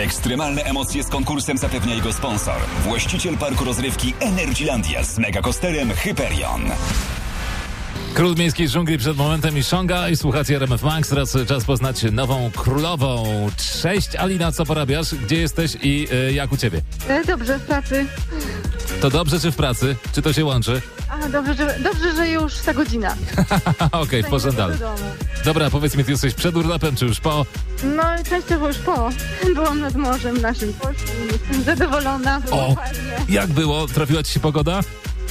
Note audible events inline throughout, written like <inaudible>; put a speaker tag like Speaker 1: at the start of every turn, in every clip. Speaker 1: Ekstremalne emocje z konkursem zapewnia jego sponsor. Właściciel parku rozrywki Energylandia z megakosterem Hyperion.
Speaker 2: Król miejskiej dżungli przed momentem i szonga i słuchacie RMF Max. Teraz czas poznać nową królową. Cześć Alina, co porabiasz? Gdzie jesteś i y, jak u ciebie?
Speaker 3: E, Dobrze, w pracy.
Speaker 2: To dobrze czy w pracy? Czy to się łączy? <laughs>
Speaker 3: A, dobrze, że, dobrze, że już ta godzina.
Speaker 2: Haha, Okej, okay,
Speaker 3: Będę
Speaker 2: dalej.
Speaker 3: do domu.
Speaker 2: Dobra, powiedz mi, ty jesteś przed urlopem czy już po?
Speaker 3: No i częściowo już po. <laughs> Byłam nad morzem naszym polskim. Jestem zadowolona. było
Speaker 2: O.
Speaker 3: fajnie.
Speaker 2: Jak było? Trafiła ci się pogoda?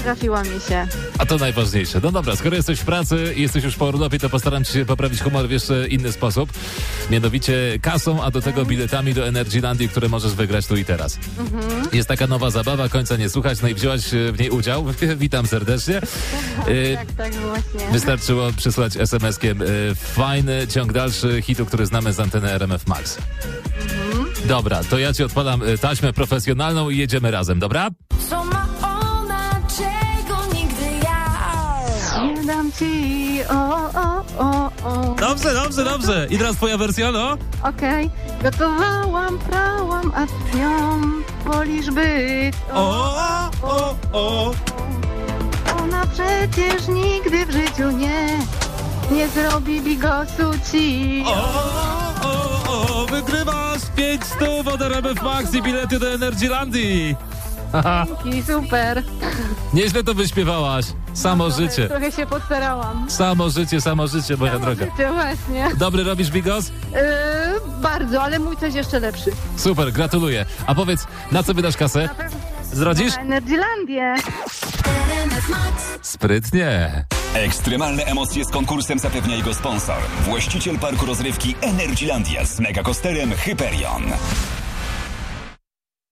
Speaker 3: Trafiła mi się.
Speaker 2: A to najważniejsze. No dobra, skoro jesteś w pracy i jesteś już po urlopie, to postaram ci się poprawić humor w jeszcze inny sposób. Mianowicie kasą, a do tego biletami do Energylandii, które możesz wygrać tu i teraz. Jest taka nowa zabawa, końca nie słuchać, no i wzięłaś e, w niej udział. <laughs> Witam serdecznie. E,
Speaker 3: Tak, tak właśnie.
Speaker 2: Wystarczyło przysłać SMS-kiem e, fajny ciąg dalszy hitu, który znamy z anteny RMF Max. Dobra, to ja ci odpalam e, taśmę profesjonalną i jedziemy razem, dobra?
Speaker 4: Co ma ona, czego nigdy ja?
Speaker 3: Nie dam ci. O, o, o, o.
Speaker 2: Dobrze, dobrze, dobrze. I teraz twoja wersja, no?
Speaker 3: Okej. Gotowałam, prałam, a ty ją wolisz być.
Speaker 2: O, o, o.
Speaker 3: Ona przecież nigdy w życiu nie. Nie zrobi bigosu ci.
Speaker 2: O, o, o, wygrywasz 5 stów od RMF Max i bilety do Energylandii. Haha,
Speaker 3: Dzięki, super.
Speaker 2: Nieźle to wyśpiewałaś. Samo życie.
Speaker 3: Trochę się postarałam.
Speaker 2: Samo życie, samo życie, moja droga.
Speaker 3: Życie, właśnie.
Speaker 2: Dobry robisz, Bigos?
Speaker 3: Yy, bardzo, ale mój coś jeszcze lepszy.
Speaker 2: Super, gratuluję. A powiedz, na co wydasz kasę? Zdradzisz?
Speaker 3: Na Energylandię.
Speaker 2: Sprytnie.
Speaker 1: Ekstremalne emocje z konkursem zapewnia jego sponsor. Właściciel parku rozrywki Energylandia z megakosterem Hyperion.